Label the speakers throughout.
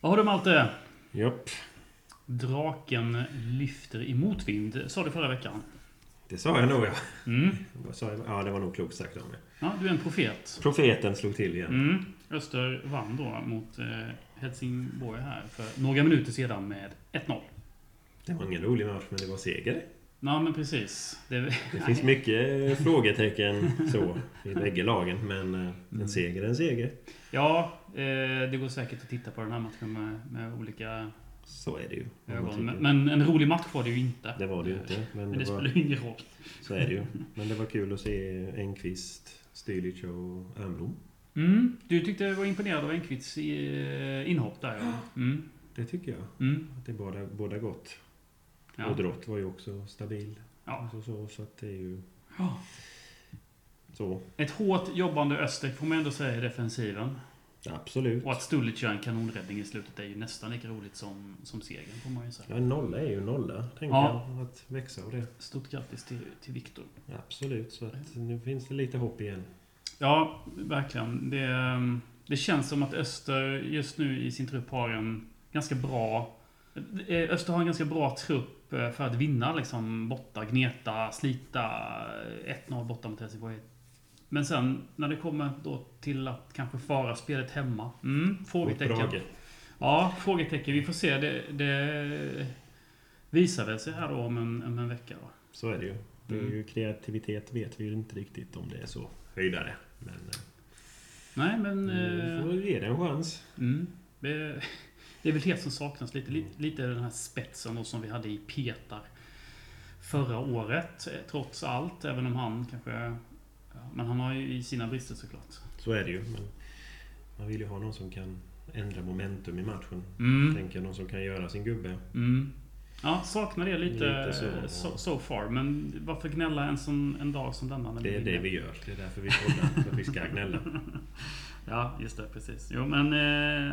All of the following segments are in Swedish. Speaker 1: har du Malte.
Speaker 2: Japp,
Speaker 1: Draken lyfter i motvind, sa du förra veckan.
Speaker 2: det sa jag nog ja.
Speaker 1: Mm.
Speaker 2: Vad sa jag? Ja, det var nog klokt sagt av mig.
Speaker 1: Ja, du är en profet.
Speaker 2: Profeten slog till igen.
Speaker 1: Mm. Öster vann då mot eh, Helsingborg här för några minuter sedan med 1-0.
Speaker 2: Det var ingen rolig match, men det var seger.
Speaker 1: Ja, men precis. Det,
Speaker 2: Det finns mycket eh, frågetecken så i bägge lagen, men eh,
Speaker 1: Mm.
Speaker 2: en seger är en seger.
Speaker 1: Ja, eh, det går säkert att titta på den här matchen med, med olika
Speaker 2: Så är det ju. om man
Speaker 1: ögon.
Speaker 2: tycker.
Speaker 1: Men, men en rolig match var det ju inte. Eh,
Speaker 2: Det var det ju inte, men
Speaker 1: Men det
Speaker 2: det var,
Speaker 1: spelar ju ingen roll.
Speaker 2: så är det ju. Men det var kul att se Engqvist, Stylic och Örnblom.
Speaker 1: Mm. Du tyckte jag var imponerad av Engqvists eh, inhopp där ja. Mm.
Speaker 2: Det tycker jag.
Speaker 1: Mm.
Speaker 2: Att det är båda, båda gott. Och
Speaker 1: Ja.
Speaker 2: Drott var ju också stabil.
Speaker 1: Ja.
Speaker 2: Så, så, så att det är ju...
Speaker 1: Ja.
Speaker 2: Så,
Speaker 1: Ett hårt jobbande Öster får man ändå säga i defensiven.
Speaker 2: absolut.
Speaker 1: Och att Stulic gör en kanonräddning i slutet är ju nästan lika roligt som, som segern får man ju säga.
Speaker 2: Ja, en nolla är ju en nolla, tänker
Speaker 1: Ja.
Speaker 2: jag. Att växa av det.
Speaker 1: Stort grattis till, till Viktor.
Speaker 2: Absolut, så att nu finns det lite hopp igen.
Speaker 1: Ja, verkligen. Det, ehm, det känns som att Öster just nu i sin trupp har en ganska bra... eh, Öster har en ganska bra trupp eh, för att vinna liksom borta, gneta, slita eh, 1-0 borta mot Helsingborg. Men sen när det kommer då till att kanske föra spelet hemma. Mm, frågetecken.
Speaker 2: Mot Brage.
Speaker 1: Ja, frågetecken. Vi får se. Det, det visar väl sig här då om en, om en vecka. Då.
Speaker 2: Så är det ju. Det är
Speaker 1: Mm.
Speaker 2: ju kreativitet vet vi ju inte riktigt om det är så höjdare. Men
Speaker 1: Nej, men...
Speaker 2: eh, vi
Speaker 1: eh,
Speaker 2: får ge det en chans.
Speaker 1: Mm. Det, det är väl det som saknas lite. Lite, lite den här spetsen då som vi hade i Petar förra året. eh, Trots allt. Även om han kanske... ja, Men han har ju i sina brister såklart.
Speaker 2: Så är det ju. Men man vill ju ha någon som kan ändra momentum i matchen.
Speaker 1: Mm.
Speaker 2: Tänka någon som kan göra sin gubbe.
Speaker 1: Mm. Ja, saknar det lite,
Speaker 2: Lite så.
Speaker 1: so, so far. Men varför gnälla en, sån, en dag som denna? när
Speaker 2: Det är
Speaker 1: vinner?
Speaker 2: det vi gör. Det är därför vi poddar. För att vi ska gnälla.
Speaker 1: Ja, just det. Precis. Jo, men... Eh,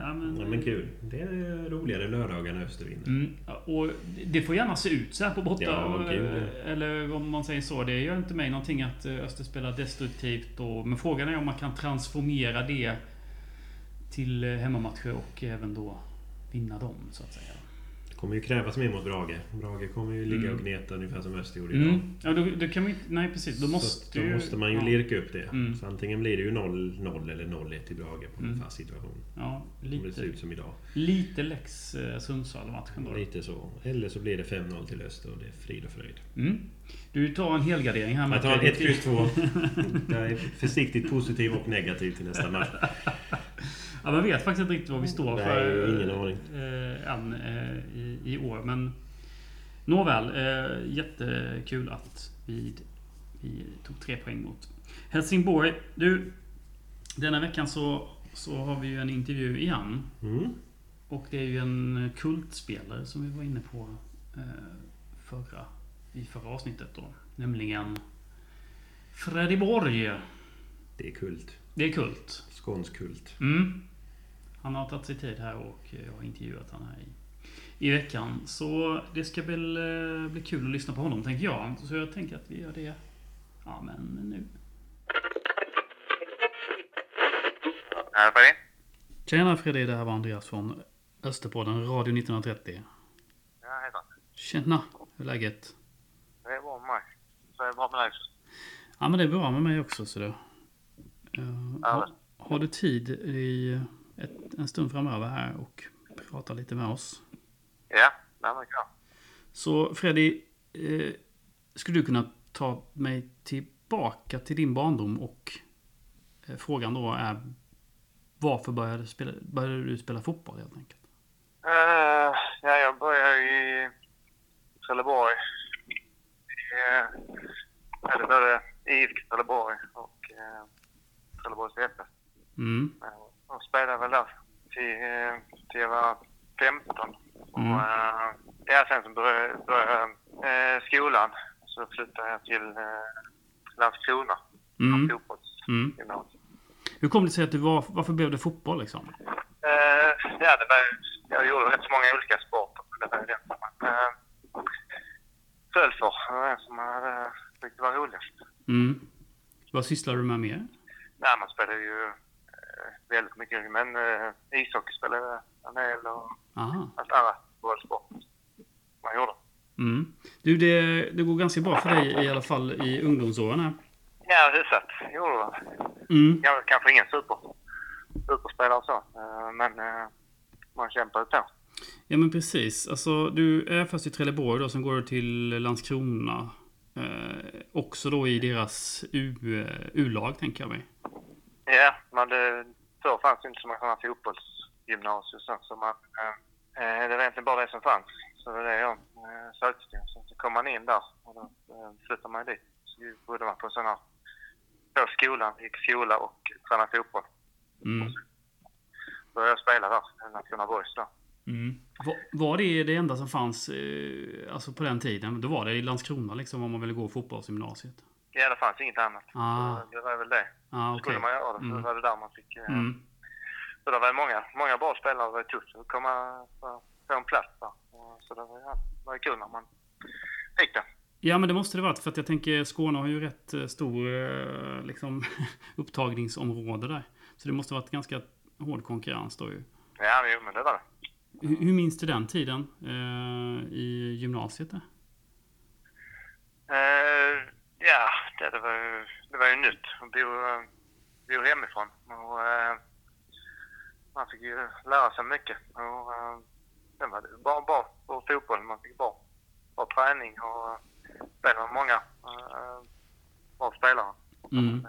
Speaker 1: ja, men,
Speaker 2: Ja, men kul. Det är roligare lördagar när Öster vinner.
Speaker 1: Mm, och det får gärna se ut så här på borta.
Speaker 2: Ja,
Speaker 1: och,
Speaker 2: gud.
Speaker 1: eller om man säger så. Det gör inte mig någonting att eh, Öster spelar destruktivt. Och, men frågan är om man kan transformera det till eh, hemmamatcher och även då vinna dem så att säga.
Speaker 2: Det kommer ju krävas mer mot Brage. Brage kommer ju ligga
Speaker 1: Mm.
Speaker 2: och gneta ungefär som Öster gjorde idag.
Speaker 1: Mm. Ja, då, då kan vi inte... Nej precis. Då
Speaker 2: Så
Speaker 1: måste,
Speaker 2: att
Speaker 1: ju-
Speaker 2: då måste man ju
Speaker 1: ja,
Speaker 2: lirka upp det.
Speaker 1: Mm.
Speaker 2: Så antingen blir det ju 0-0 eller 0-1 till Brage på
Speaker 1: Mm.
Speaker 2: en fast situation.
Speaker 1: ja,
Speaker 2: Om det
Speaker 1: lite,
Speaker 2: ser ut som idag.
Speaker 1: lite lex eh, Sundsvall-matchen då.
Speaker 2: Lite så. Eller så blir det 5-0 till Öster och det är frid och fröjd.
Speaker 1: Mm. Du tar en helgardering här.
Speaker 2: Jag
Speaker 1: Martin.
Speaker 2: tar en 1, kryss 2. Jag är försiktigt positiv och negativ till nästa match.
Speaker 1: Ja, man vet faktiskt inte riktigt vad vi står
Speaker 2: Nej,
Speaker 1: för
Speaker 2: ingen aning.
Speaker 1: eh, än eh, i, i år. Men nåväl, eh, jättekul att vi, vi tog tre poäng mot Helsingborg. Du, denna veckan så, så har vi ju en intervju igen.
Speaker 2: Mm.
Speaker 1: Och det är ju en kultspelare som vi var inne på eh, förra, i förra avsnittet då. Nämligen Freddy Borg.
Speaker 2: Det är kult.
Speaker 1: Det är kult.
Speaker 2: Skånsk kult.
Speaker 1: Mm. Han har tagit sig tid här och eh, jag har intervjuat han här i, i veckan. Så det ska väl eh, bli kul att lyssna på honom, tänker jag. Så jag tänker att vi gör det ja, men nu.
Speaker 3: Här Freddy.
Speaker 1: Tjena Fredrik, det här var Andreas från Österpodden, Radio 1930.
Speaker 3: Ja, hejsan.
Speaker 1: Tjena, hur är läget?
Speaker 3: Det är bra med mig. Så är det bra med dig också.
Speaker 1: Ja, men det är bra med mig också, så du. Eh,
Speaker 3: Ja.
Speaker 1: har, har du tid i ett, en stund framöver här och prata lite med oss?
Speaker 3: Ja, nej men klar.
Speaker 1: Så Freddy, eh, skulle du kunna ta mig tillbaka till din barndom och eh, frågan då är varför började, du spela, började du spela fotboll helt enkelt?
Speaker 3: Eh, ja, jag började i Trelleborg. Uh, eller både i IFK Trelleborg och uh, Trelleborgs FF.
Speaker 1: Mm,
Speaker 3: Eh, Jag spelade väl där till, eh, till jag var 15.
Speaker 1: Mm.
Speaker 3: Och, eh, ja, sen så började började jag eh, skolan. Så flyttade jag till eh, Landskrona,
Speaker 1: mm,
Speaker 3: fotbollsgymnasiet.
Speaker 1: mm. Hur kom det sig att du var, varför blev det fotboll liksom?
Speaker 3: Eh, ja, det var, jag gjorde rätt så många olika sporter. Det var ju den som man eh, föll för. Det var den som man hade tyckte var roligast.
Speaker 1: Mm. Vad sysslar du med mer?
Speaker 3: Nej, man spelade ju eh, väldigt mycket. Men eh, ishockey spelade jag panel och
Speaker 1: Aha.
Speaker 3: allt annat bollsport man gjorde.
Speaker 1: Mm. Du, det, det går ganska bra för dig i alla fall i ungdomsåren här.
Speaker 3: Ja, hyfsat gjorde det.
Speaker 1: Mm.
Speaker 3: Kanske, kanske ingen super, superspelare och så, eh, men eh, man kämpade på.
Speaker 1: Ja, men precis. Alltså, du är först i Trelleborg då, sen går du till Landskrona. Eh, också då i deras U- eh, U-lag, tänker jag mig.
Speaker 3: Ja, men det, förr fanns det inte så många sådana fotbollsgymnasier och sånt, så man, eh, eh, det var egentligen bara det som fanns. Så det var det jag eh, sökte till. Så, så kom man in där och då eh, flyttade man dit. Så bodde man på sådana, på skolan, gick skola och tränade fotboll.
Speaker 1: Mm.
Speaker 3: Började jag spela där, i Landskrona Boys då.
Speaker 1: Mm. Va- Var det det enda som fanns eh, alltså på den tiden? Då var det i Landskrona liksom om man ville gå fotbollsgymnasiet.
Speaker 3: Ja, det fanns inget annat.
Speaker 1: Ah,
Speaker 3: Så Det var väl det.
Speaker 1: ah okej.
Speaker 3: Skulle man göra det, så
Speaker 1: Mm.
Speaker 3: var det där man fick... Eh,
Speaker 1: Mm.
Speaker 3: Så det var ju många, många bra spelare, det var ju tufft att komma få- få en plats där. Och Så det var ju det var ju kul när man fick det.
Speaker 1: Ja, men det måste det varit. För att jag tänker Skåne har ju rätt eh, stor eh, liksom, upptagningsområde där. Så det måste varit ganska hård konkurrens då ju.
Speaker 3: Ja, jo, men det var det.
Speaker 1: Hur, hur minns du den tiden eh, i gymnasiet? Där?
Speaker 3: Eh, ja, det, det, var ju, det var ju nytt att bo, eh, bo hemifrån. Och, eh, man fick ju lära sig mycket. Och, eh, sen var det bara bra på fotboll. Man fick bra, bra träning och eh, spela med många eh, bra spelare.
Speaker 1: Mm.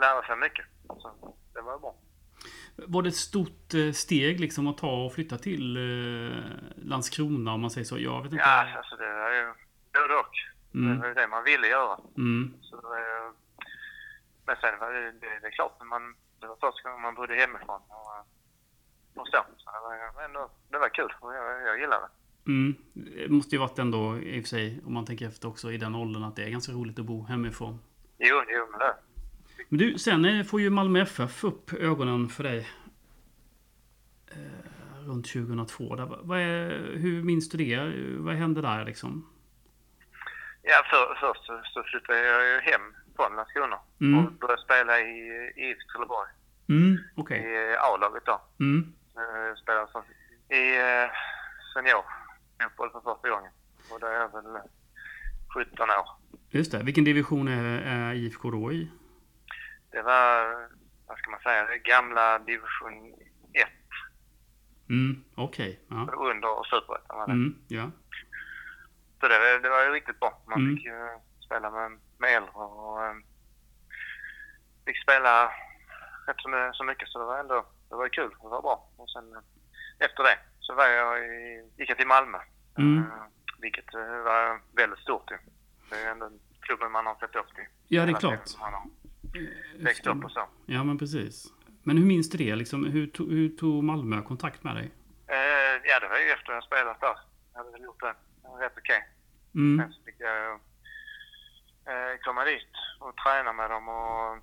Speaker 3: Lära sig mycket. Så det var ju bra.
Speaker 1: Var det ett stort eh, steg liksom att ta och flytta till eh, Landskrona om man säger så? Jag vet inte.
Speaker 3: Ja, alltså det var ju både och. Det
Speaker 1: Mm.
Speaker 3: var ju det man ville göra.
Speaker 1: Mm.
Speaker 3: Så det var ju, men sen var det, det, det är klart, när man, det var första gången man bodde hemifrån. Och, och så. så det, var, ju ändå, det var kul och jag, jag gillade det.
Speaker 1: Mm. Det måste ju varit ändå i och för sig, om man tänker efter också, i den åldern att det är ganska roligt att bo hemifrån.
Speaker 3: Jo, jo men det.
Speaker 1: Men du, sen eh, får ju Malmö FF upp ögonen för dig. Eh, runt 2002. Där. Va- Vad är, hur minns du det? Eh, Vad hände där liksom?
Speaker 3: Ja, för, först så, så flyttade jag ju hem från Landskrona
Speaker 1: Mm.
Speaker 3: och började spela i i IFK Trelleborg,
Speaker 1: Mm, okej.
Speaker 3: i A-laget då.
Speaker 1: Mm.
Speaker 3: Eh, Spelade som, i eh, seniorfotboll för första gången. Och då är jag väl 17 år.
Speaker 1: Just det. Vilken division är, är IFK då i?
Speaker 3: Det var, vad ska man säga, det gamla division 1.
Speaker 1: Mm, okej. Ja.
Speaker 3: Under och superettan var det.
Speaker 1: Mm, ja.
Speaker 3: Så det, var- det var ju riktigt bra. Man
Speaker 1: Mm.
Speaker 3: fick ju eh, spela med, med äldre och eh, fick spela rätt så, my- så mycket så det var ändå det var ju kul. Det var bra. Och sen eh, efter det så var jag i, gick jag till Malmö.
Speaker 1: Mm.
Speaker 3: Eh, vilket eh, var väldigt stort ju. Det är ju ändå klubben man har sett upp till.
Speaker 1: Ja, det är
Speaker 3: Hela tiden
Speaker 1: klart.
Speaker 3: som Man har
Speaker 1: Just
Speaker 3: växt
Speaker 1: det.
Speaker 3: upp och så.
Speaker 1: Ja, men precis. Men hur minns du det? Liksom, hur, to, hur tog Malmö kontakt med dig?
Speaker 3: Eh, ja, det var ju efter jag spelat där. Jag hade väl gjort det rätt okej.
Speaker 1: Mm,
Speaker 3: Sen så fick jag eh, komma dit och träna med dem och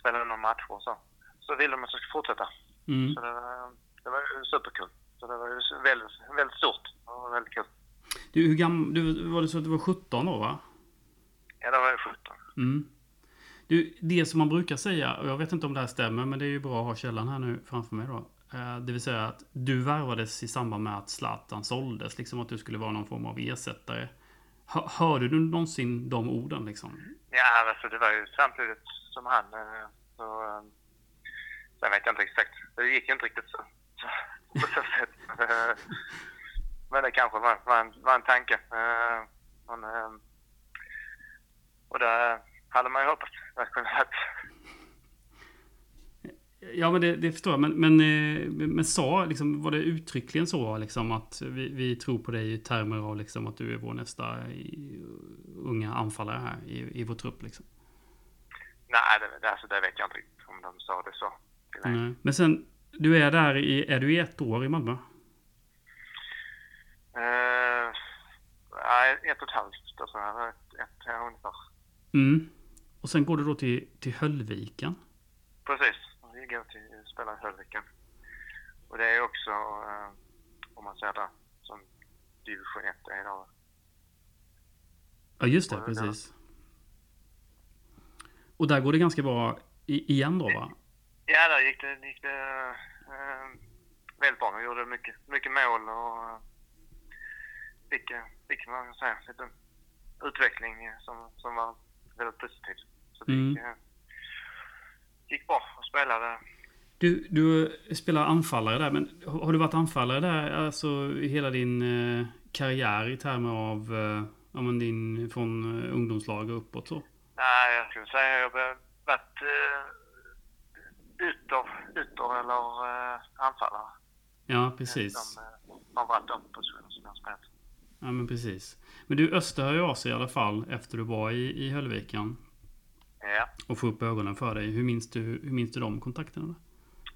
Speaker 3: spela några matcher och så. Så ville de att jag skulle fortsätta.
Speaker 1: mm.
Speaker 3: Så det, var- det var ju superkul. Så det var ju väldigt, väldigt stort och väldigt kul.
Speaker 1: Du, hur gammal... Du, var det så att du var 17 då, va?
Speaker 3: Ja, det var ju 17.
Speaker 1: Mm. Du, det som man brukar säga, och jag vet inte om det här stämmer, men det är ju bra att ha källan här nu framför mig då. Eh, Det vill säga att du värvades i samband med att Zlatan såldes, liksom att du skulle vara någon form av ersättare. Hör- Hörde du någonsin de orden liksom?
Speaker 3: Ja, alltså det var ju samtidigt som han. eh, Så, eh, sen vet jag inte exakt. Det gick ju inte riktigt så. så- På så sätt. Eh, Men det kanske var, var, en, var en tanke. Eh, Men, eh, och det hade man ju hoppats att kunna att
Speaker 1: Ja, men det, det förstår jag. Men, men, eh, men sa, liksom, var det uttryckligen så liksom, att vi, vi tror på dig i termer av liksom, att du är vår nästa eh, unga anfallare här i, i vår trupp? Liksom?
Speaker 3: Nej, det, det, alltså, det vet jag inte riktigt om de sa det så. till mig.
Speaker 1: Nej. Men sen, du är där i, är du i ett år i Malmö?
Speaker 3: Eh, Nej, ett och ett halvt. Alltså, ett, ett, ett ungefär.
Speaker 1: Mm. Och sen går du då till, till Höllviken.
Speaker 3: Precis. Vi går till spela i Höllviken. Och det är också, eh, om man säger det, som division 1 är idag.
Speaker 1: Ja, just det.
Speaker 3: Ja,
Speaker 1: Precis. Och där går det ganska bra i, igen då, va?
Speaker 3: Ja, där gick det, gick det eh, väldigt bra. De gjorde mycket, mycket mål och eh, fick, eh, fick man kan säga, lite utveckling eh, som, som var väldigt positiv. Så det gick, eh, gick bra och spelade.
Speaker 1: Du, du spelar anfallare där, men har har du varit anfallare där alltså i hela din eh, karriär i termer av eh, ja, men din, från eh, ungdomslag och uppåt så?
Speaker 3: Nej, jag skulle säga jag har varit eh, ytter, ytter eller eh, anfallare.
Speaker 1: Ja, precis.
Speaker 3: De, eh, har varit de positioner som jag har spelat.
Speaker 1: Ja, men precis. Men du, Öster hör ju av sig i alla fall efter du var i, i Höllviken
Speaker 3: Ja.
Speaker 1: och får upp ögonen för dig. Hur minns du, hur minns du de kontakterna? Då?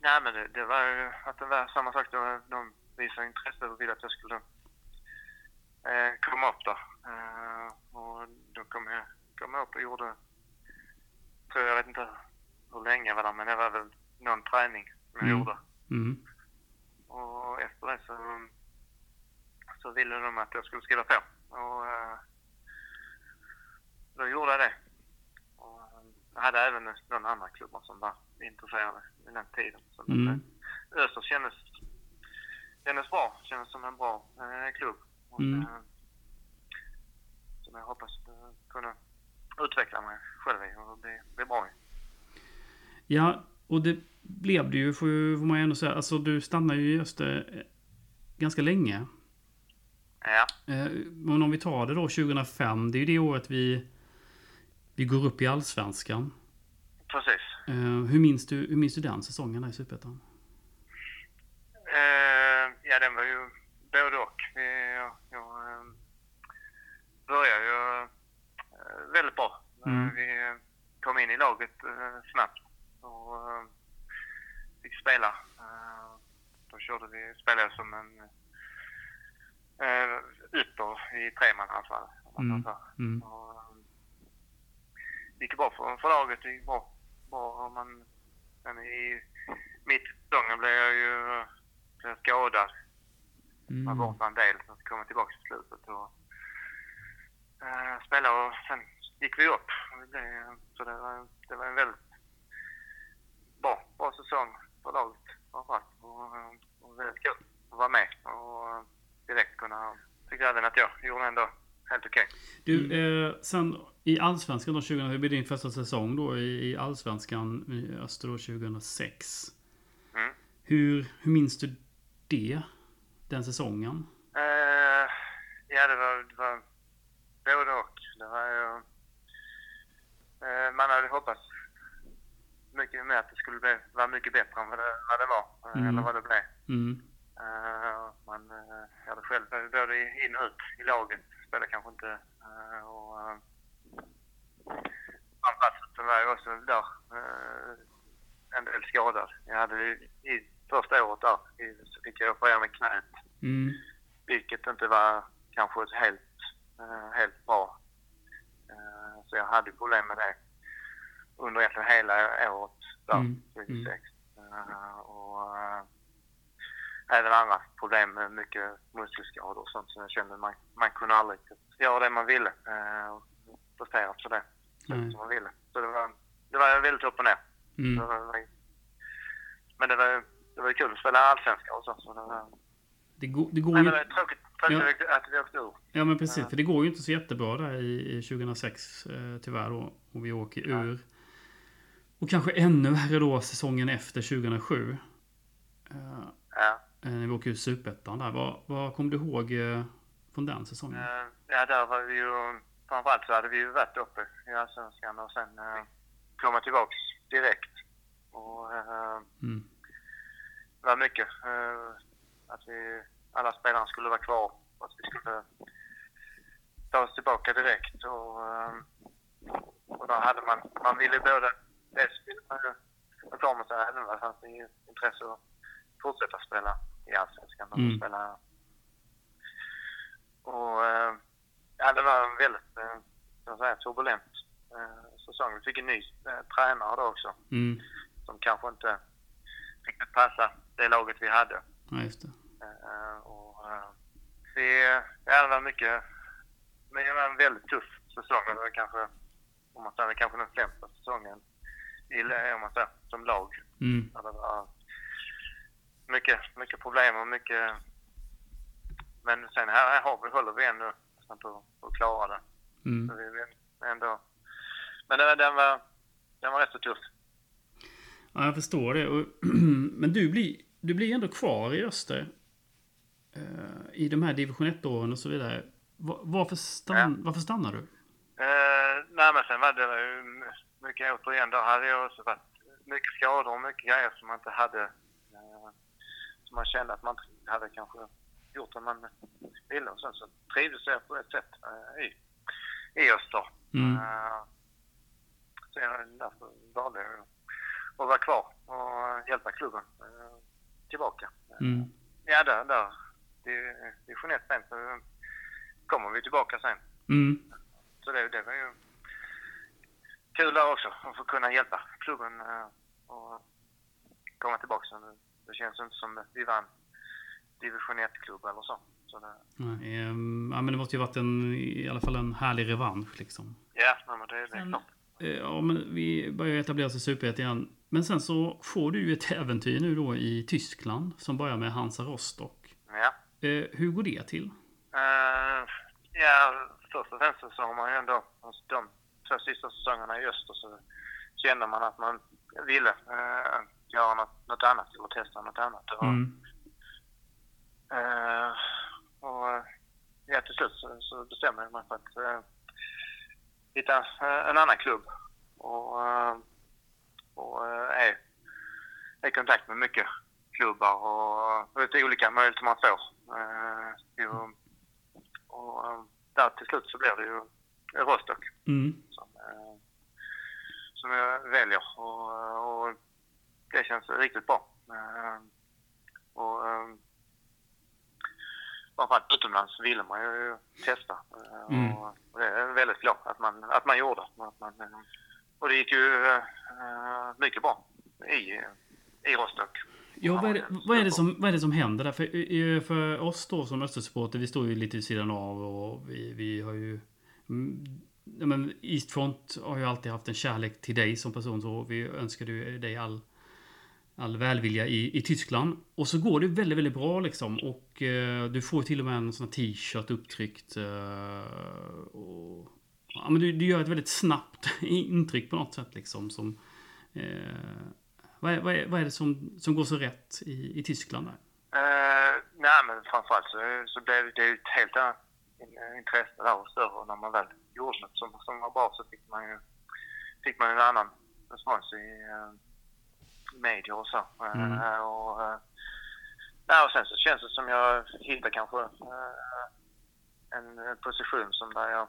Speaker 3: Nej, men det, det var ju att det var samma sak. De, de visade intresse och ville att jag skulle eh, komma upp där. Eh, och då kom jag, kom jag upp och gjorde, tror jag, jag vet inte hur länge jag var där, men det var väl någon träning som jag
Speaker 1: Mm.
Speaker 3: gjorde.
Speaker 1: Mm.
Speaker 3: Och efter det så, så ville de att jag skulle skriva på. Och eh, då gjorde jag det. Och eh, jag hade även några andra klubbar som var intresserade vid den tiden. Så
Speaker 1: Mm.
Speaker 3: det- Öster kändes, kändes bra. Kändes som en bra eh, klubb. Och,
Speaker 1: Mm.
Speaker 3: eh, som jag hoppas eh, kunna utveckla mig själv i och bli, bli bra i.
Speaker 1: Ja, och det blev det ju, får, ju, får man ju ändå säga. Alltså, du stannade ju i Öster eh, ganska länge.
Speaker 3: Ja,
Speaker 1: Eh, Men om vi tar det då 2005, det är ju det året vi, vi går upp i Allsvenskan.
Speaker 3: precis.
Speaker 1: Eh, Hur minns du, hur minns du den säsongen där i Superettan?
Speaker 3: Eh, ja, den var ju både och. Eh, Jag, jag eh, började ju eh, väldigt bra. Eh,
Speaker 1: Mm.
Speaker 3: Vi eh, kom in i laget eh, snabbt och eh, fick spela. Eh, då körde vi, spelade jag som en eh, ytter i Alltså, tremannaanfall.
Speaker 1: Mm. Mm.
Speaker 3: Och, eh, Det gick bra för, för laget. Det gick bra. bra och man, men i mitt säsongen blev jag ju blev jag skadad. Man
Speaker 1: Mm.
Speaker 3: var borta en del för att komma tillbaka till slutet. Och, eh, spelade och sen gick vi upp. Och Det, blev- så det var, det var en väldigt bra, bra säsong för laget framförallt. Och, eh, och väldigt kul att vara med och eh, direkt kunna... Tyckte även att jag gjorde ändå helt okej.
Speaker 1: Du, eh, sen i Allsvenskan då 2000, det blir din första säsong då i, i Allsvenskan i Öster då 2006.
Speaker 3: Mm.
Speaker 1: Hur, hur minns du det? Den säsongen?
Speaker 3: Eh, ja, det var, det var både och. Det var ju, eh, man hade hoppats mycket mer att det skulle bli, vara mycket bättre än vad det, vad det var, eh,
Speaker 1: Mm.
Speaker 3: eller vad det blev.
Speaker 1: Mm.
Speaker 3: Eh, man eh, jag hade själv varit både i- in och ut i laget. Spelade kanske inte. Eh, och, eh, framförallt så var jag också där eh, en del skadad. Jag hade ju- i första året där i, så fick jag operera med knät.
Speaker 1: Mm.
Speaker 3: Vilket inte var kanske ett helt, eh, helt bra. Eh, så jag hade problem med det under egentligen hela året där,
Speaker 1: Mm,
Speaker 3: 2006. Eh, och eh, även andra problem med mycket muskelskador och sånt som jag kände man, man kunde aldrig riktigt göra det man ville eh, och prestera på det sätt
Speaker 1: Nej.
Speaker 3: som man ville. Så det var, det var väldigt upp och ner.
Speaker 1: Mm.
Speaker 3: Det var- Men det var, det var kul att spela allsvenskan och så. så det var,
Speaker 1: Det, går, det går
Speaker 3: Nej,
Speaker 1: ju...
Speaker 3: men det är tråkigt, tråkigt att vi åkte ur.
Speaker 1: Mm. Ja men precis, för det går ju inte så jättebra där i, i 2006 eh, tyvärr då. Och vi åker ur. Och kanske ännu värre då säsongen efter 2007. Eh,
Speaker 3: Ja.
Speaker 1: eh, när vi åker ur Superettan där. Vad, vad kom du ihåg eh, från den säsongen?
Speaker 3: Eh, ja, där var vi ju... Framförallt så hade vi ju varit uppe i Allsvenskan och sen eh, komma tillbaks direkt. Och eh,
Speaker 1: Mm.
Speaker 3: det var mycket eh, att vi, alla spelarna skulle vara kvar och att vi skulle ta oss tillbaka direkt. Och, eh, och då hade man, man ville både, eh, dels ville man ju vara klar med sig, även vad det fanns ju intresse att fortsätta spela i Allsvenskan och
Speaker 1: Mm.
Speaker 3: spela. Och eh, ja, det var en väldigt, eh, ska jag säga, turbulent eh, säsong. Vi fick en ny eh, tränare då också
Speaker 1: Mm.
Speaker 3: som kanske inte riktigt passade det laget vi hade.
Speaker 1: Ja just det.
Speaker 3: Eh, och, eh, vi, ja, det var mycket, men det var en väldigt tuff säsong. Det var kanske, om man säger, kanske den sämsta säsongen i, om man säger, som lag.
Speaker 1: Mm.
Speaker 3: Ja, det var mycket, mycket problem och mycket... Men sen här, här har vi, håller vi ändå nästan på på att klara det. Så
Speaker 1: Mm.
Speaker 3: vi, vi ändå. Men den, den, var, den var rätt så tuff.
Speaker 1: Ja, jag förstår det. Och Men du blir, du blir ändå kvar i Öster. eh, I de här division 1-åren och så vidare. Va- Varför, stann,
Speaker 3: Ja.
Speaker 1: varför stannar du?
Speaker 3: Eh, nej, men sen var det ju m- mycket återigen. Då hade jag också varit mycket skador och mycket grejer som man inte hade... Eh, som man kände att man inte hade kanske gjort om man ville. Och sen så trivdes jag på ett sätt eh, i, i Öster.
Speaker 1: Mm.
Speaker 3: Eh, så jag, därför valde jag att vara kvar och hjälpa klubben eh, tillbaka.
Speaker 1: Mm.
Speaker 3: Ja, där, där. Det, det är Jeanette sen så kommer vi tillbaka sen.
Speaker 1: Mm.
Speaker 3: Så det, det var ju kul där också, att få kunna hjälpa klubben eh, och komma tillbaka. Så det- Det känns inte som att vi vann division 1-klubb eller så. så det,
Speaker 1: Nej, ehm, ja, men det måste ju varit en, i alla fall en härlig revansch liksom.
Speaker 3: ja, nej, men det, det är
Speaker 1: Sen-
Speaker 3: klart.
Speaker 1: Eh, Ja, men vi börjar etablera oss i Superettan igen. Men sen så får du ju ett äventyr nu då i Tyskland som börjar med Hansa Rostock.
Speaker 3: Ja.
Speaker 1: Eh, hur går det till?
Speaker 3: Eh, ja, först och främst så- så har man ju ändå, alltså, de två sista säsongerna i öster så kände man att man ville eh, göra något, något annat eller testa något annat. Och,
Speaker 1: Mm.
Speaker 3: Eh, och eh, ja, till slut så, så bestämde jag mig för att eh, hitta eh, en annan klubb. Och, eh, och eh, är är i kontakt med mycket klubbar och, och lite olika möjligheter man får. Eh, ju, och eh, där till slut så blir det ju Rostock
Speaker 1: Mm.
Speaker 3: som, eh, som jag väljer. Och, och det känns riktigt bra. Eh, och eh, framförallt utomlands ville man ju testa. Eh,
Speaker 1: Mm.
Speaker 3: och, och det är jag väldigt glad att man, att man gjorde. Att man, eh, och det gick ju eh, mycket bra i, i Rostock.
Speaker 1: Ja, vad är, det, vad, är det som, vad är det som händer där? För, eh, för oss då som Östersupporter, vi står ju lite vid sidan av och vi, vi har ju... Mm, ja, men Eastfront har ju alltid haft en kärlek till dig som person så vi önskar ju dig all, all välvilja i, i Tyskland. Och så går det väldigt, väldigt bra liksom och eh, du får till och med en sån här t-shirt upptryckt. Eh, och, ja, men du, du gör ett väldigt snabbt intryck på något sätt liksom som... Eh, vad är, vad är, vad är det som, som går så rätt i, i Tyskland? Där?
Speaker 3: Eh, nej, men framförallt så, så blev det ju ett helt annat in- intresse där och större. Och när man väl gjorde något som, som var bra så fick man ju, fick man ju en annan respons i eh, media och så. Eh,
Speaker 1: Mm.
Speaker 3: och, eh, nej, och sen så känns det som jag hittade kanske eh, en eh, position som där jag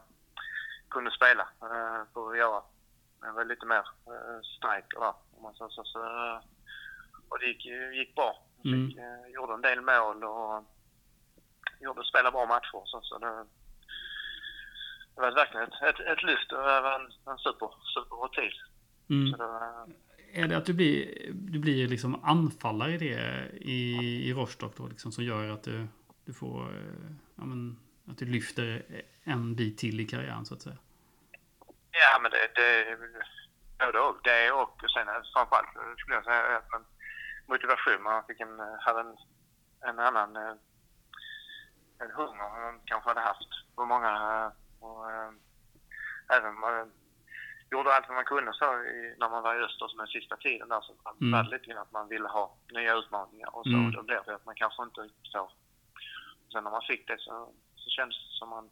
Speaker 3: kunde spela eh, för att göra jag var lite mer eh, striker där, om man säger så. så eh, och det gick, gick bra.
Speaker 1: Mm.
Speaker 3: Fick, eh, gjorde en del mål och gjorde, spelade bra matcher. och Så, så det, det var verkligen ett, ett, ett lyft och det var en, en super, super tid. Så
Speaker 1: Mm.
Speaker 3: det, var-
Speaker 1: Är det att du blir, du blir liksom anfallare i det i, i Rostock då, liksom, som gör att du, du får... eh, Ja, men, att du lyfter en bit till i karriären så att säga?
Speaker 3: ja, men det, det både och. Det och sen framförallt eh, skulle jag säga att man, motivation. Man fick en, hade en, en annan eh, en hunger än man kanske hade haft på många... eh, Och, eh, även man gjorde allt vad man kunde så i, när man var i öster som den sista tiden där så man
Speaker 1: Mm.
Speaker 3: var det lite grann att man ville ha nya utmaningar och så.
Speaker 1: Mm.
Speaker 3: Då blev det att man kanske inte riktigt får... Sen när man fick det så, så kändes det som man,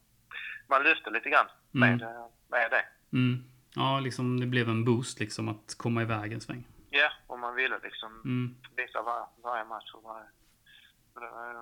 Speaker 3: man lyfte lite grann med,
Speaker 1: Mm.
Speaker 3: eh, med det.
Speaker 1: Mm. Ja, liksom det blev en boost liksom att komma iväg en sväng.
Speaker 3: Ja, och man ville liksom
Speaker 1: Mm.
Speaker 3: visa var, varje match och varje... Så det var ju-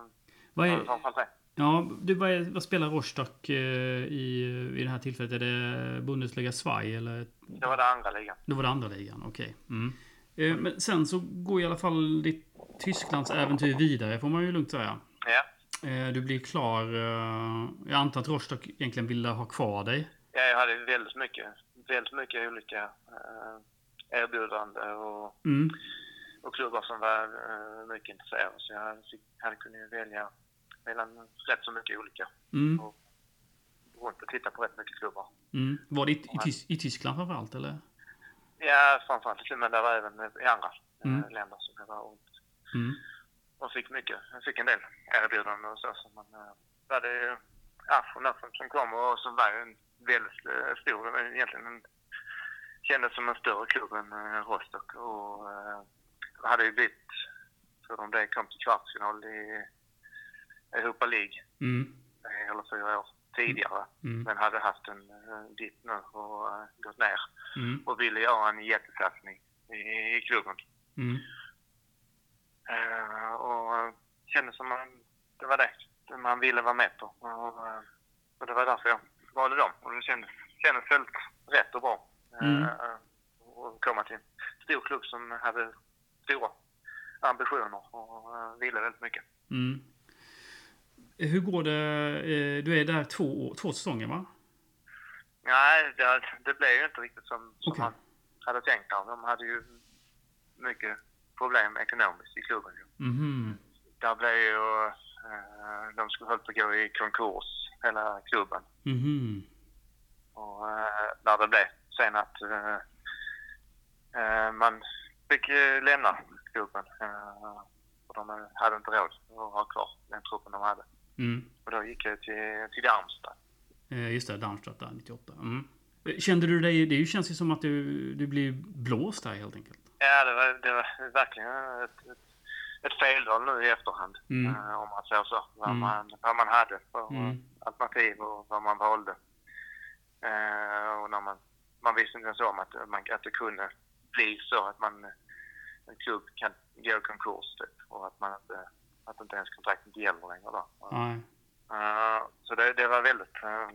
Speaker 1: Vad,
Speaker 3: det var
Speaker 1: är,
Speaker 3: framförallt det.
Speaker 1: ja, du, vad, är, vad spelar Rostock eh, i, i det här tillfället? Är det Bundesliga Schweiz eller
Speaker 3: Det var det andra ligan.
Speaker 1: Då var det andra ligan, okej. Mm. Eh, Men sen så går i alla fall ditt Tysklands äventyr vidare, får man ju lugnt säga.
Speaker 3: Ja.
Speaker 1: Eh, Du blir klar... eh, Jag antar att Rostock egentligen ville ha kvar dig.
Speaker 3: Ja, jag hade väldigt mycket, väldigt mycket olika eh, erbjudanden och,
Speaker 1: Mm.
Speaker 3: och klubbar som var eh, mycket intresserade. Så jag hade, fick, hade kunnat ju välja mellan rätt så mycket olika.
Speaker 1: Mm.
Speaker 3: Gå Runt och titta på rätt mycket klubbar.
Speaker 1: Mm. Var det i, i, Tys- i Tyskland framförallt, eller?
Speaker 3: Ja, framförallt i men det var även i andra eh,
Speaker 1: Mm.
Speaker 3: länder som jag var runt.
Speaker 1: Mm.
Speaker 3: och fick mycket. Jag fick en del erbjudanden och så. så man, eh, det var det ju Afron där som, som kom och som var ju en väldigt eh, stor, det var ju egentligen en, kändes som en större klubb än eh, Rostock och eh, hade ju blivit, för de det kom till kvartsfinal i Europa League
Speaker 1: Mm.
Speaker 3: tre eller fyra år tidigare.
Speaker 1: Mm.
Speaker 3: Men hade haft en eh, dipp nu och eh, gått ner
Speaker 1: Mm.
Speaker 3: och ville göra en jättesatsning i, i klubben.
Speaker 1: Mm.
Speaker 3: Eh, och eh, kände som man, det var det, det man ville vara med på. Och, eh, och det var därför jag valde dem. Och det kändes, kändes väldigt rätt och bra.
Speaker 1: Mm.
Speaker 3: Eh, och komma till en stor klubb som hade stora ambitioner och eh, ville väldigt mycket.
Speaker 1: Mm. Hur går det? eh, Du är där två, år- två säsonger va?
Speaker 3: Nej, det, det blev ju inte riktigt som, som
Speaker 1: Okej.
Speaker 3: man hade tänkt där. De hade ju mycket problem ekonomiskt i klubben. ju.
Speaker 1: Mhm.
Speaker 3: Där blev ju... Eh, de skulle höll på att gå i konkurs, hela klubben.
Speaker 1: Mhm.
Speaker 3: Och eh, där det blev sen att eh, eh, man fick eh, lämna klubben. Eh, och de eh, hade inte råd att ha kvar den truppen de hade.
Speaker 1: Mm.
Speaker 3: Och då gick jag till, till Darmstad.
Speaker 1: Eh, Just det, Darmstadt där 98. Mm. Eh, Kände du dig... Det känns ju som att du, du blir blåst här helt enkelt.
Speaker 3: Ja, det var, det var verkligen ett, ett, ett felval nu i efterhand.
Speaker 1: Mm.
Speaker 3: Eh, om man säger så. Vad,
Speaker 1: Mm.
Speaker 3: man, vad man hade för
Speaker 1: Mm.
Speaker 3: alternativ och vad man valde. Eh, och när man, man visste inte ens om att, man, att det kunde bli så att man, en klubb kan gå i konkurs typ, och att, man inte, att inte ens kontraktet gäller längre. Då.
Speaker 1: Nej.
Speaker 3: Eh, så det, det var väldigt... eh,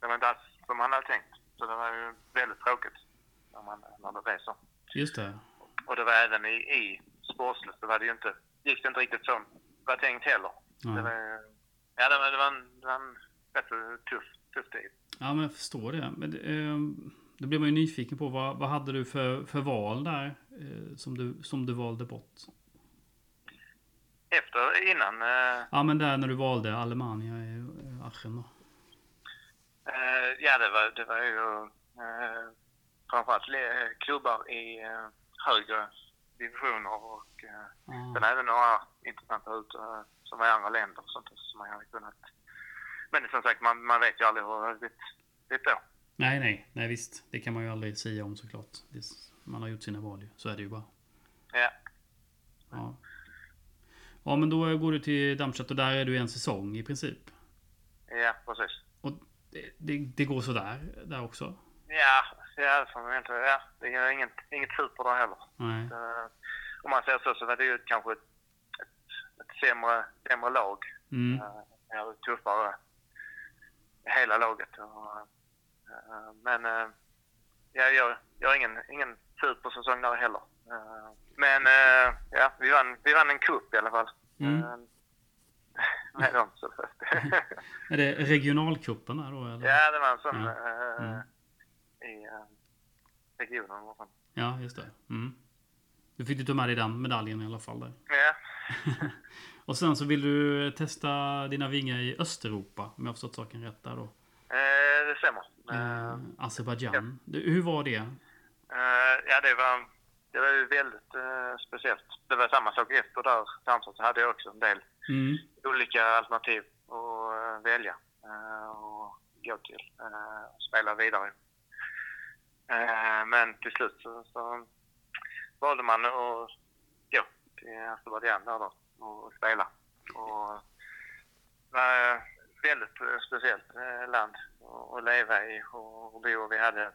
Speaker 3: det var inte alls som man hade tänkt. Så det var ju väldigt tråkigt när, man, när det blev så.
Speaker 1: Just det.
Speaker 3: Och det var även i, i sportsligt, det var det ju inte, gick det inte riktigt som det var tänkt heller. Det
Speaker 1: Nej.
Speaker 3: var, ja, det var, det var en, det var en rätt så tuff, tuff tid.
Speaker 1: Ja, men jag förstår det. Men det, eh, då blir man ju nyfiken på vad, vad hade du för, för val där eh, som du, som du valde bort?
Speaker 3: Efter, innan, eh,
Speaker 1: Ja, men där när du valde Alemania i eh, Aachen då.
Speaker 3: eh, ja det var, det var ju eh, framförallt le- klubbar i eh, högre divisioner och eh, sen
Speaker 1: Ah.
Speaker 3: även några intressanta ut eh, som var i andra länder och sånt som man hade kunnat. Men som sagt, man, man vet ju aldrig hur det hade blivit- blivit då.
Speaker 1: Nej, nej, nej visst. Det kan man ju aldrig säga om såklart. Det, s- man har gjort sina val ju. Så är det ju bara.
Speaker 3: Ja.
Speaker 1: Ja. ja, men då går du till Darmstadt och där är du en säsong i princip.
Speaker 3: ja, precis.
Speaker 1: Och det, det, det går sådär där också?
Speaker 3: Ja, ja, det får man inte, ja, det är inget, inget super där heller.
Speaker 1: Nej.
Speaker 3: Eh, Om man säger så, så var det ju kanske ett, ett, ett sämre, sämre lag.
Speaker 1: Mm.
Speaker 3: Eh, Ja, det var tuffare. Hela laget. Och, eh, men eh, jag gör, gör ingen, ingen supersäsong där heller. Eh, Men eh, ja, vi vann, vi vann en cup i alla fall.
Speaker 1: Mm.
Speaker 3: Eh, Med dem. Så.
Speaker 1: Är det regionalcupen där då? Eller?
Speaker 3: ja, det var en sån
Speaker 1: Ja.
Speaker 3: eh,
Speaker 1: Mm.
Speaker 3: i eh, regionen. och sånt.
Speaker 1: ja, just det. Mm. Du fick ju ta med dig den medaljen i alla fall. Där.
Speaker 3: Ja,
Speaker 1: Och sen så vill du testa dina vingar i Östeuropa, om jag har förstått saken rätt där då.
Speaker 3: eh, det stämmer. Eh,
Speaker 1: Eh, Azerbajdzjan. Du, Hur var det?
Speaker 3: Eh, ja, det var, det var ju väldigt eh, speciellt. Det var samma sak efter där, samtidigt så hade jag också en del
Speaker 1: Mm.
Speaker 3: olika alternativ att eh, välja eh, och gå till eh, och spela vidare. Eh, men till slut så, så valde man att gå till Azerbajdzjan där då och spela. Och det var eh, väldigt eh, speciellt eh, land att att leva i och och bo. Vi hade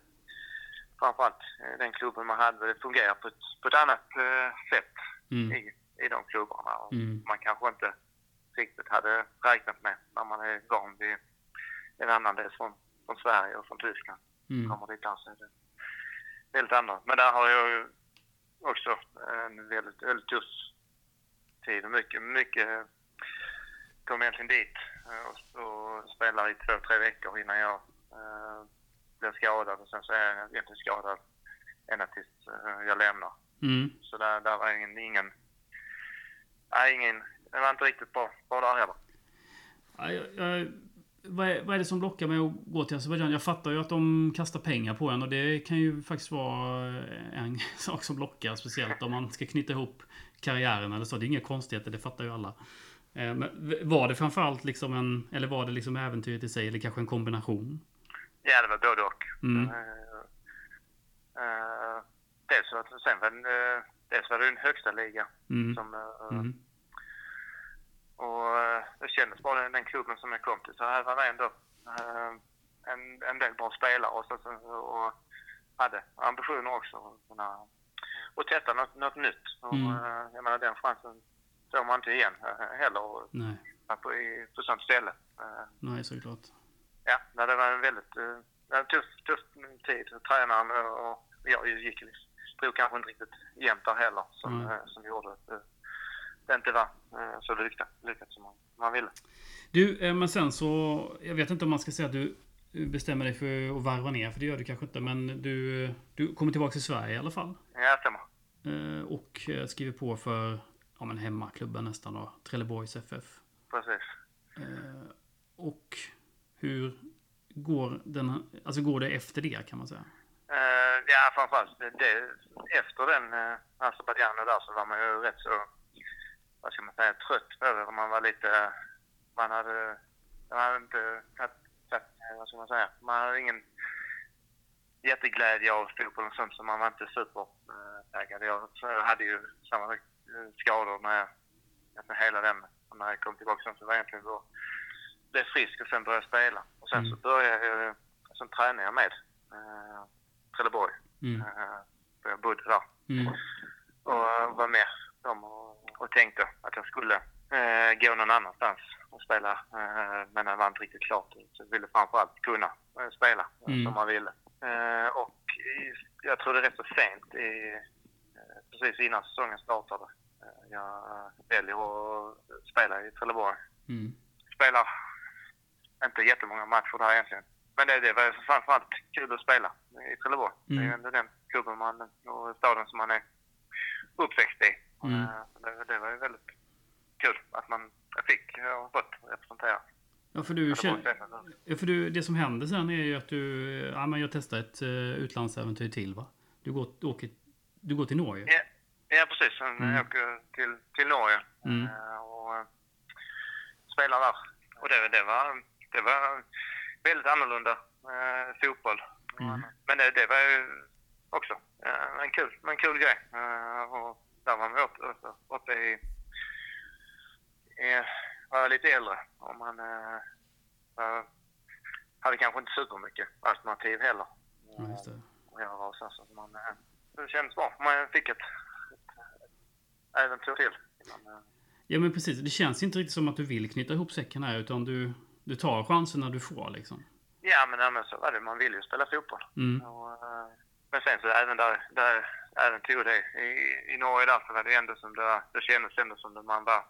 Speaker 3: framförallt eh, den klubben man hade, det fungerar på ett, på ett annat eh, sätt
Speaker 1: Mm.
Speaker 3: i, i de klubbarna. Och
Speaker 1: Mm.
Speaker 3: man kanske inte riktigt hade räknat med när man är van vid en annan del från, från Sverige och från Tyskland.
Speaker 1: Mm.
Speaker 3: Kommer dit där så är det väldigt annat. Men där har jag ju också en väldigt, väldigt tuff tid. och Mycket, mycket kom egentligen dit eh, och, och spelar i två, tre veckor innan jag eh, blev skadad. Och sen så är jag egentligen skadad ända tills eh, jag lämnar.
Speaker 1: Mm.
Speaker 3: Så där, där var ingen, ingen, nej, ingen, det var inte riktigt bra, bra där heller.
Speaker 1: Ja, jag, jag, vad, är, vad är det som lockar mig att gå till Azerbajdzjan? Jag fattar ju att de kastar pengar på eh, en och det kan ju faktiskt vara en sak som lockar. Speciellt om man ska knyta ihop karriären eller så. Det är inga konstigheter, det fattar ju alla. Eh, Men v- var det framförallt liksom en, eller var det liksom äventyret i sig, eller kanske en kombination?
Speaker 3: Ja, det var både och.
Speaker 1: Mm.
Speaker 3: Eh, eh, dels, var det, sen var det, eh, dels var det den högsta ligan.
Speaker 1: Mm.
Speaker 3: Som, eh,
Speaker 1: Mm.
Speaker 3: Och eh, det kändes bara den klubben som jag kom till. Så här var det ändå eh, en, en del bra spelare och, så, så- och hade ambitioner också. att kunna- Och testa något, något nytt. Och,
Speaker 1: Mm.
Speaker 3: eh, jag menar den chansen får man inte igen eh, heller och,
Speaker 1: Nej,
Speaker 3: på, i, på sånt ställe. Eh,
Speaker 1: nej såklart.
Speaker 3: Ja, nej, det var en väldigt eh, en tuff, tuff tid. Tränaren och jag gick liksom, drog kanske inte riktigt jämnt där heller som,
Speaker 1: Mm.
Speaker 3: eh, som gjorde att eh, det inte var eh, så lyckat, lyckat som man, man ville.
Speaker 1: Du, eh, men sen så... Jag vet inte om man ska säga att du eh, bestämmer dig för att varva ner, för det gör du kanske inte. Men du, eh, du kommer tillbaka till Sverige i alla fall.
Speaker 3: Ja, stämmer.
Speaker 1: Eh, Och eh, skriver på för ja, men hemmaklubben nästan då, Trelleborgs FF.
Speaker 3: Precis.
Speaker 1: Eh, Och hur går, den, alltså går det efter det kan man säga?
Speaker 3: Eh, ja, framförallt det, det, efter den eh, Azerbajdzjan och där så var man ju rätt så, vad ska man säga, trött på det. Man var lite, man hade, man hade inte, haft- haft, eh, vad ska man säga, man hade ingen jätteglädje av fotboll och sånt så man var inte supertaggad. Jag, så jag hade ju samma eh, skador när jag, alltså hela den, och när jag kom tillbaka sen så var jag egentligen bara, blev frisk och sen började jag spela. Och sen så
Speaker 1: Mm.
Speaker 3: började jag, sen tränade jag med. eh, Trelleborg.
Speaker 1: Mm.
Speaker 3: Eh, för Jag bodde där
Speaker 1: Mm.
Speaker 3: och eh, var med dem och, och tänkte att jag skulle eh, gå någon annanstans och spela. Eh, men det var inte riktigt klart. Så jag ville framförallt kunna eh, spela eh,
Speaker 1: Mm.
Speaker 3: som man ville. Eh, och i, jag tror det är rätt så sent, i, eh, precis innan säsongen startade. Eh, jag väljer att spela i Trelleborg
Speaker 1: Mm.
Speaker 3: spelar inte jättemånga matcher där egentligen. Men det, det var framförallt kul att spela i Trelleborg. Det är ju
Speaker 1: Mm.
Speaker 3: ändå den klubben man, och staden som man är uppväxt i.
Speaker 1: Mm.
Speaker 3: Eh, Det, det var ju väldigt kul att man jag fick eh, och fått representera
Speaker 1: Ja, för du,
Speaker 3: Trelleborg.
Speaker 1: känner, ja, för du, det som händer sen är ju att du, ja men jag testar ett eh, utlandsäventyr till va? Du går, du åker, du går till Norge?
Speaker 3: Ja, ja precis. Sen
Speaker 1: Mm.
Speaker 3: jag åker till, till Norge
Speaker 1: Mm.
Speaker 3: eh, och eh, spelar där. Och det, det, var, det var väldigt annorlunda eh, fotboll.
Speaker 1: Mm.
Speaker 3: Men det, det var ju också eh, en, kul, en kul grej. Eh, och där var man uppe, uppe, uppe i... i var lite äldre och man eh, var, hade kanske inte supermycket alternativ heller.
Speaker 1: Ja, just det.
Speaker 3: Och jag var så här, så man, eh, det kändes bra. Man fick ett, ett äventyr till. Man, eh,
Speaker 1: Ja men precis, det känns inte riktigt som att du vill knyta ihop säcken här utan du, du tar chansen när du får liksom.
Speaker 3: Ja, men, ja, men så var det. Man vill ju spela fotboll.
Speaker 1: Mm.
Speaker 3: Och, eh, men sen så även där, där även tog det i, i Norge där så var det ändå som det, var- det kändes ändå som det man var,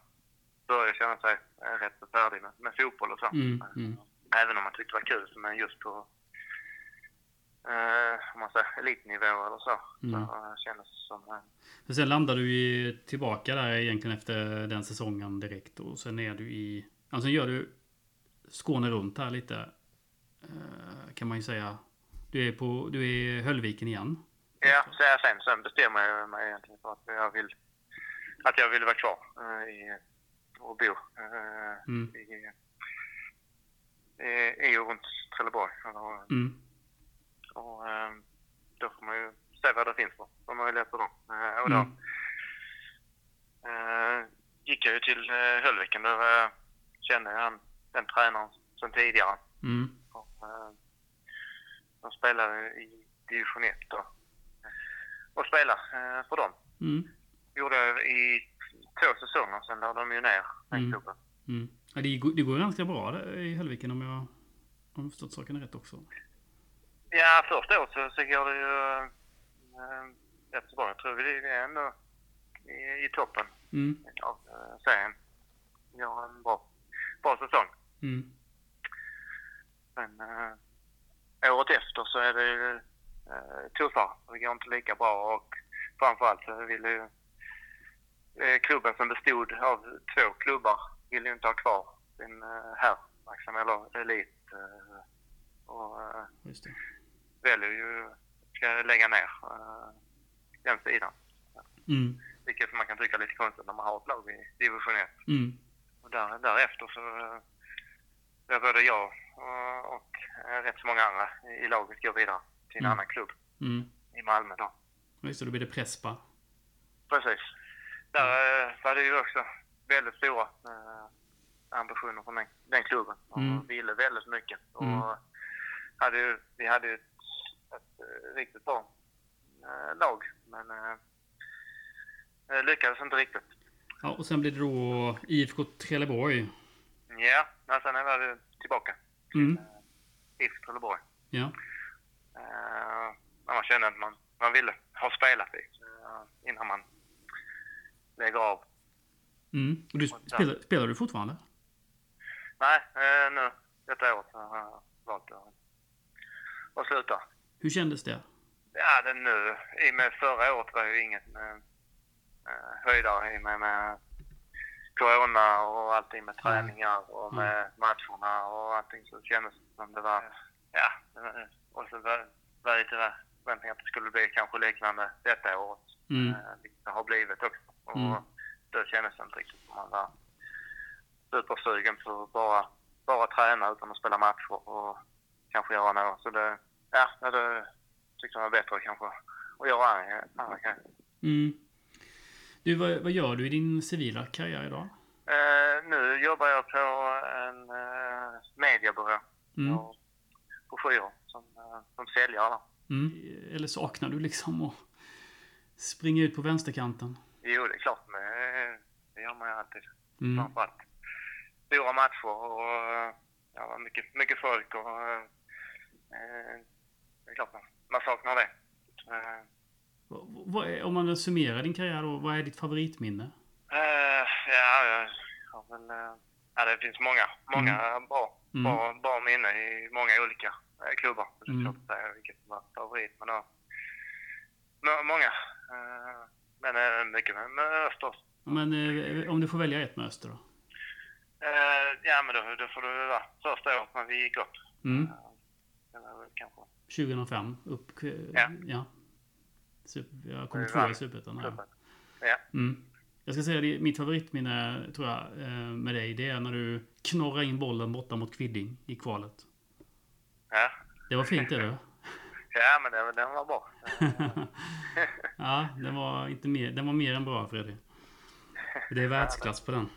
Speaker 3: började känna sig eh, rätt så färdig med, med fotboll och så.
Speaker 1: Mm, mm.
Speaker 3: Även om man tyckte det var kul, men just på eh, om man säger elitnivå eller så,
Speaker 1: Mm.
Speaker 3: så eh, kändes det som eh,
Speaker 1: För sen landar du ju tillbaka där egentligen efter den säsongen direkt och sen är du i... Alltså gör du Skåne runt här lite. eh, Kan man ju säga. Du är på... Du är i Höllviken igen.
Speaker 3: Ja, så jag sen, sen bestämmer jag mig egentligen för att jag vill, att jag vill vara kvar eh, i, och bo eh,
Speaker 1: Mm.
Speaker 3: i, i, i och runt Trelleborg. Och,
Speaker 1: Mm.
Speaker 3: och, eh, då får man ju se vad det finns för, för möjligheter då. Eh, och då
Speaker 1: Mm.
Speaker 3: eh, gick jag ju till eh, Höllviken. Då eh, kände jag han, den tränaren sen tidigare.
Speaker 1: Mm.
Speaker 3: Och, eh, de spelade i division 1 då. Och spelade eh, för dem.
Speaker 1: Mm.
Speaker 3: Gjorde jag i två säsonger, sen la de ju ner den
Speaker 1: Mm.
Speaker 3: klubben.
Speaker 1: Mm. Ja, det, går, det går ganska bra där i Höllviken om jag om jag har förstått saken rätt också.
Speaker 3: Ja, första året så, så går det ju eh, rätt bra. Jag tror vi är ändå i, i toppen
Speaker 1: Mm.
Speaker 3: av eh, serien. Gör en bra, bra säsong.
Speaker 1: Mm.
Speaker 3: Sen eh, året efter så är det ju eh, tuffare. Det går inte lika bra och framförallt så vill ju eh, klubben som bestod av två klubbar vill ju inte ha kvar sin eh, här, liksom, eller elit. Eh, och eh,
Speaker 1: Just det.
Speaker 3: väljer ju ska lägga ner eh, den sidan.
Speaker 1: Mm.
Speaker 3: Vilket man kan tycka är lite konstigt när man har ett lag i division 1.
Speaker 1: Mm.
Speaker 3: Och där, därefter så eh, där började jag eh, och eh, rätt så många andra i laget gå vidare till en
Speaker 1: Mm.
Speaker 3: annan klubb
Speaker 1: Mm.
Speaker 3: i Malmö då.
Speaker 1: Ja, Just det, då blir det Prespa.
Speaker 3: Precis. Där eh, var det ju också väldigt stora eh, ambitioner från den, den klubben. Och
Speaker 1: Mm.
Speaker 3: ville väldigt mycket. Och
Speaker 1: Mm.
Speaker 3: hade ju, vi hade ju ett, ett eh, riktigt bra eh, lag, men eh, eh, lyckades inte riktigt.
Speaker 1: Ja, och sen blir det då IFK Trelleborg.
Speaker 3: Ja, men sen var det tillbaka
Speaker 1: Mm.
Speaker 3: till Trelleborg.
Speaker 1: Ja.
Speaker 3: Eh, när man känner att man, man ville ha spelat i eh, innan man lägger av.
Speaker 1: Mm. Och du
Speaker 3: Och där-
Speaker 1: spelar, spelar du fortfarande?
Speaker 3: Nej, eh, nu detta året har jag valt att, att sluta.
Speaker 1: Hur kändes det?
Speaker 3: Ja, det nu. I och med förra året var ju inget eh, eh, höjdare i och med, med corona och allting med träningar och med matcherna och allting så kändes det som det var, ja, det var- och så var, var lite förväntningar att det skulle bli kanske liknande detta året.
Speaker 1: Mm.
Speaker 3: eh, vilket det har blivit också. Och
Speaker 1: Mm.
Speaker 3: då kändes det inte riktigt som man var supersugen på att bara, bara träna utan att spela matcher och kanske göra något. Så det, ja, ja, det tyckte jag var bättre kanske att göra andra- andra grejer.
Speaker 1: Mm. Du, vad, vad gör du i din civila karriär idag?
Speaker 3: Eh, nu jobbar jag på en eh, mediebyrå
Speaker 1: Mm.
Speaker 3: och broschyrer som, eh, som säljare. då.
Speaker 1: Mm. Eller saknar du liksom att springa ut på vänsterkanten?
Speaker 3: Jo, det är klart, men eh, det gör man ju alltid.
Speaker 1: Mm.
Speaker 3: framförallt. Stora matcher och eh, ja, var mycket, mycket folk och eh, eh, det är klart man, man saknar det. Eh,
Speaker 1: Vad- vad är, om man summerar din karriär då, vad är ditt favoritminne?
Speaker 3: eh, ja, jag har väl, eh, ja, det finns många, många bra,
Speaker 1: Mm.
Speaker 3: bra, bra minnen i många olika eh, klubbar. Det är
Speaker 1: Mm.
Speaker 3: svårt att säga vilket som var favorit, men då, må- många. Eh, men eh, mycket med, med Östers.
Speaker 1: Ja, Men eh, om du får välja ett med Öster då?
Speaker 3: Eh, ja, men då, då får det väl vara första året när vi gick upp.
Speaker 1: Mm.
Speaker 3: Det var väl kanske
Speaker 1: 2005, upp... eh,
Speaker 3: Ja.
Speaker 1: ja. Super, jag kom
Speaker 3: Det
Speaker 1: tvåa i
Speaker 3: vann.
Speaker 1: Superettan. här.
Speaker 3: klubben. Ja.
Speaker 1: Mm. Jag ska säga det, mitt favoritminne tror jag eh, med dig, det är när du knorrar in bollen borta mot Kvidding i kvalet.
Speaker 3: Ja.
Speaker 1: Det var fint det du.
Speaker 3: Ja, men den, den var bra.
Speaker 1: ja, den var, inte mer, den var mer än bra Fredrik. Det är världsklass på den.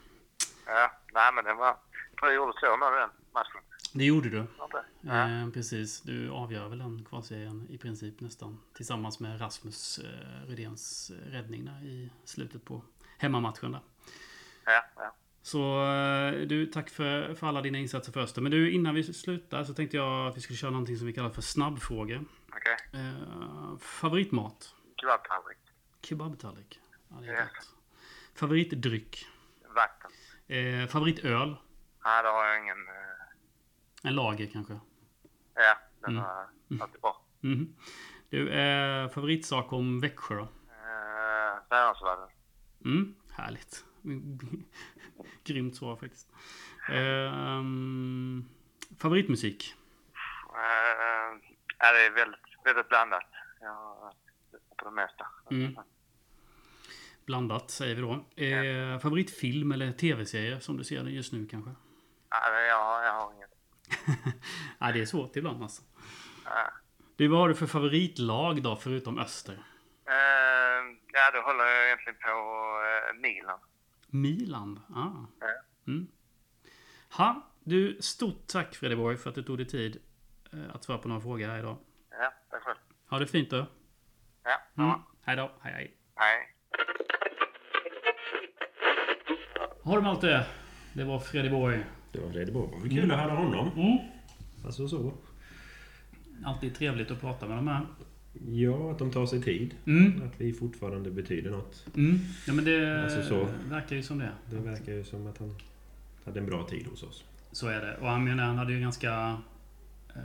Speaker 3: Ja, nej, men den var... Jag tror jag gjorde två mål i den matchen.
Speaker 1: Det gjorde du.
Speaker 3: Var det inte? Ja.
Speaker 1: Eh, precis, du avgör väl den kvalserien i princip nästan. Tillsammans med Rasmus eh, Rydéns räddning där i slutet på hemmamatchen där.
Speaker 3: Ja, ja.
Speaker 1: Så eh, du, tack för, för alla dina insatser för Öster. Men du, innan vi slutar så tänkte jag att vi skulle köra någonting som vi kallar för snabbfrågor.
Speaker 3: Okej.
Speaker 1: Eh, favoritmat?
Speaker 3: Kebab, Henrik.
Speaker 1: Kebabtallrik. Ja, det är
Speaker 3: Ja.
Speaker 1: gott. Favoritdryck?
Speaker 3: Vatten.
Speaker 1: Eh, favoritöl?
Speaker 3: Nej, det har jag ingen... eh,
Speaker 1: En lager kanske?
Speaker 3: Ja, den
Speaker 1: Mm.
Speaker 3: var alltid bra.
Speaker 1: Mhm. Du, eh, favoritsak om Växjö då?
Speaker 3: Eh, Färjansvallen.
Speaker 1: Mm, härligt. Grymt svar faktiskt. Ehm, favoritmusik?
Speaker 3: Eh, ja, det är väldigt, väldigt blandat. Jag lyssnar på det mesta.
Speaker 1: Mm. Blandat säger vi då. Eh, favoritfilm eller tv-serie som du ser det just nu kanske?
Speaker 3: Ja, det- jag, har- jag har inget.
Speaker 1: Nej, det är svårt ibland alltså.
Speaker 3: Ja.
Speaker 1: Du, vad har du för favoritlag då förutom Öster?
Speaker 3: Eh, ja, då håller jag egentligen på eh, Milan.
Speaker 1: Milan? Ah.
Speaker 3: Ja.
Speaker 1: Mm. Ha, du, stort tack Fredeborg för att du tog dig tid eh, att svara på några frågor här idag.
Speaker 3: Ja, tack själv.
Speaker 1: Ha det fint då.
Speaker 3: Ja,
Speaker 1: Mm. Hej då. Hej, hej.
Speaker 3: hej.
Speaker 1: Ha det Malte. Det var Fredeborg.
Speaker 2: Det var Freddy Borg. Vad kul att höra honom.
Speaker 1: Mm.
Speaker 2: Alltså så.
Speaker 1: Alltid trevligt att prata med de här.
Speaker 2: Ja, att de tar sig tid.
Speaker 1: Mm.
Speaker 2: Att vi fortfarande betyder något.
Speaker 1: Mm. Ja, men det
Speaker 2: Alltså så.
Speaker 1: verkar ju som det.
Speaker 2: Det verkar ju som att han hade en bra tid hos oss.
Speaker 1: Så är det. Och han menar, han hade ju ganska... Eh,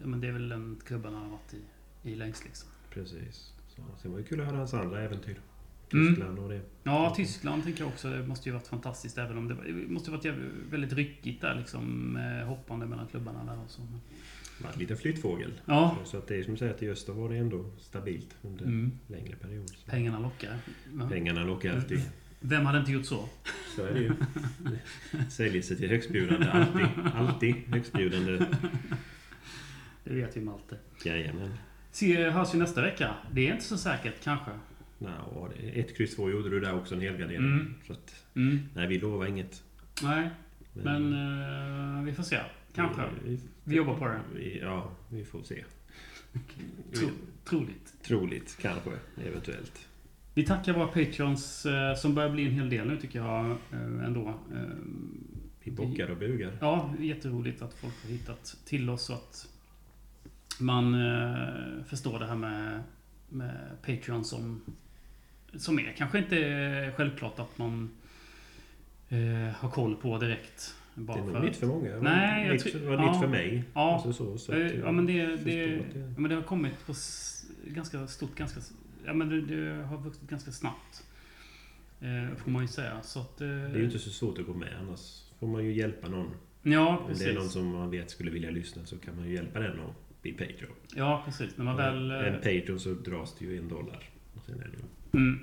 Speaker 1: ja, men det är väl den klubben han har varit i, i längst liksom.
Speaker 2: Precis. Så, sen var det kul att höra hans andra äventyr.
Speaker 1: Mm.
Speaker 2: Tyskland och det.
Speaker 1: Ja, Tyskland tänker jag också. Det måste ju varit fantastiskt. Även om det, var, det måste ju varit jävligt, väldigt ryckigt där liksom. eh, Hoppande mellan klubbarna där och så. Men
Speaker 2: varit lite flyttfågel.
Speaker 1: Ja.
Speaker 2: Så att det är som du säger, till Öster var det ändå stabilt under
Speaker 1: Mm.
Speaker 2: längre period. Så
Speaker 1: Pengarna lockar. Ja.
Speaker 2: Pengarna lockar alltid.
Speaker 1: Vem hade inte gjort så?
Speaker 2: Så är det ju. Säljer sig till högstbjudande. Alltid. Alltid högstbjudande.
Speaker 1: Det vet ju Malte.
Speaker 2: Jajamän.
Speaker 1: Se, hörs vi nästa vecka. Det är inte så säkert kanske.
Speaker 2: Nå, det- ett kryss två gjorde du där också en helgardering.
Speaker 1: Mm.
Speaker 2: Så att,
Speaker 1: Mm.
Speaker 2: nej, vi lovar inget.
Speaker 1: Nej, men eh, vi får se. Kanske.
Speaker 2: Vi, vi,
Speaker 1: Vi jobbar på det.
Speaker 2: vi, ja, vi får se. Mm.
Speaker 1: Tro, troligt.
Speaker 2: Troligt, kanske, eventuellt.
Speaker 1: Vi tackar våra patreons eh, som börjar bli en hel del nu tycker jag eh, ändå. Eh,
Speaker 2: Vi bockar och bugar.
Speaker 1: ja, jätteroligt att folk har hittat till oss så att man eh, förstår det här med, med Patreon som, som är kanske inte självklart att man eh, har koll på direkt.
Speaker 2: Det
Speaker 1: Bara
Speaker 2: är nog
Speaker 1: för
Speaker 2: nytt för många.
Speaker 1: Nej, jag
Speaker 2: nytt,
Speaker 1: tror-
Speaker 2: det var
Speaker 1: ja.
Speaker 2: nytt för mig.
Speaker 1: Ja.
Speaker 2: Alltså så, så att
Speaker 1: Eh, ja, men det,
Speaker 2: förstår
Speaker 1: det,
Speaker 2: att
Speaker 1: ja, men det har kommit på s- ganska stort, ganska... s- Ja, men det, det har vuxit ganska snabbt. Eh, får man ju säga. Så att... Eh,
Speaker 2: det är ju typ- inte så svårt att gå med. Annars får man ju hjälpa någon.
Speaker 1: Ja,
Speaker 2: Om det är någon
Speaker 1: precis.
Speaker 2: som man vet skulle vilja lyssna så kan man ju hjälpa den att bli Patreon.
Speaker 1: Ja, precis. När man väl... Eh,
Speaker 2: En Patreon så dras det ju en dollar. Och sen är det ju,
Speaker 1: mm,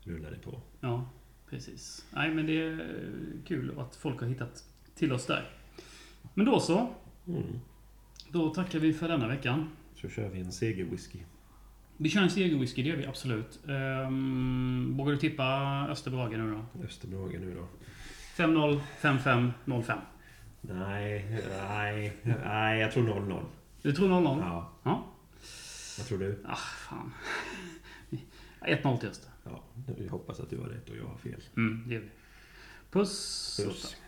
Speaker 2: rullar det på.
Speaker 1: ja, precis. Nej, men det är eh, kul att folk har hittat till oss där. Men då så.
Speaker 2: Mm.
Speaker 1: Då tackar vi för denna veckan.
Speaker 2: Så kör vi en segerwhisky.
Speaker 1: Vi kör en segerwhisky, det gör vi absolut. Um, vågar du tippa Österbrage nu då?
Speaker 2: Österbrage nu då.
Speaker 1: 5-0, 5-5, 0-5.
Speaker 2: Nej, nej, nej. Jag tror 0-0.
Speaker 1: Du tror 0-0?
Speaker 2: Ja,
Speaker 1: Ja.
Speaker 2: vad tror du?
Speaker 1: Ah, fan. 1-0 till Öster.
Speaker 2: Ja, jag hoppas att du har rätt och jag har fel.
Speaker 1: Mm, det gör vi. Puss.
Speaker 2: Puss.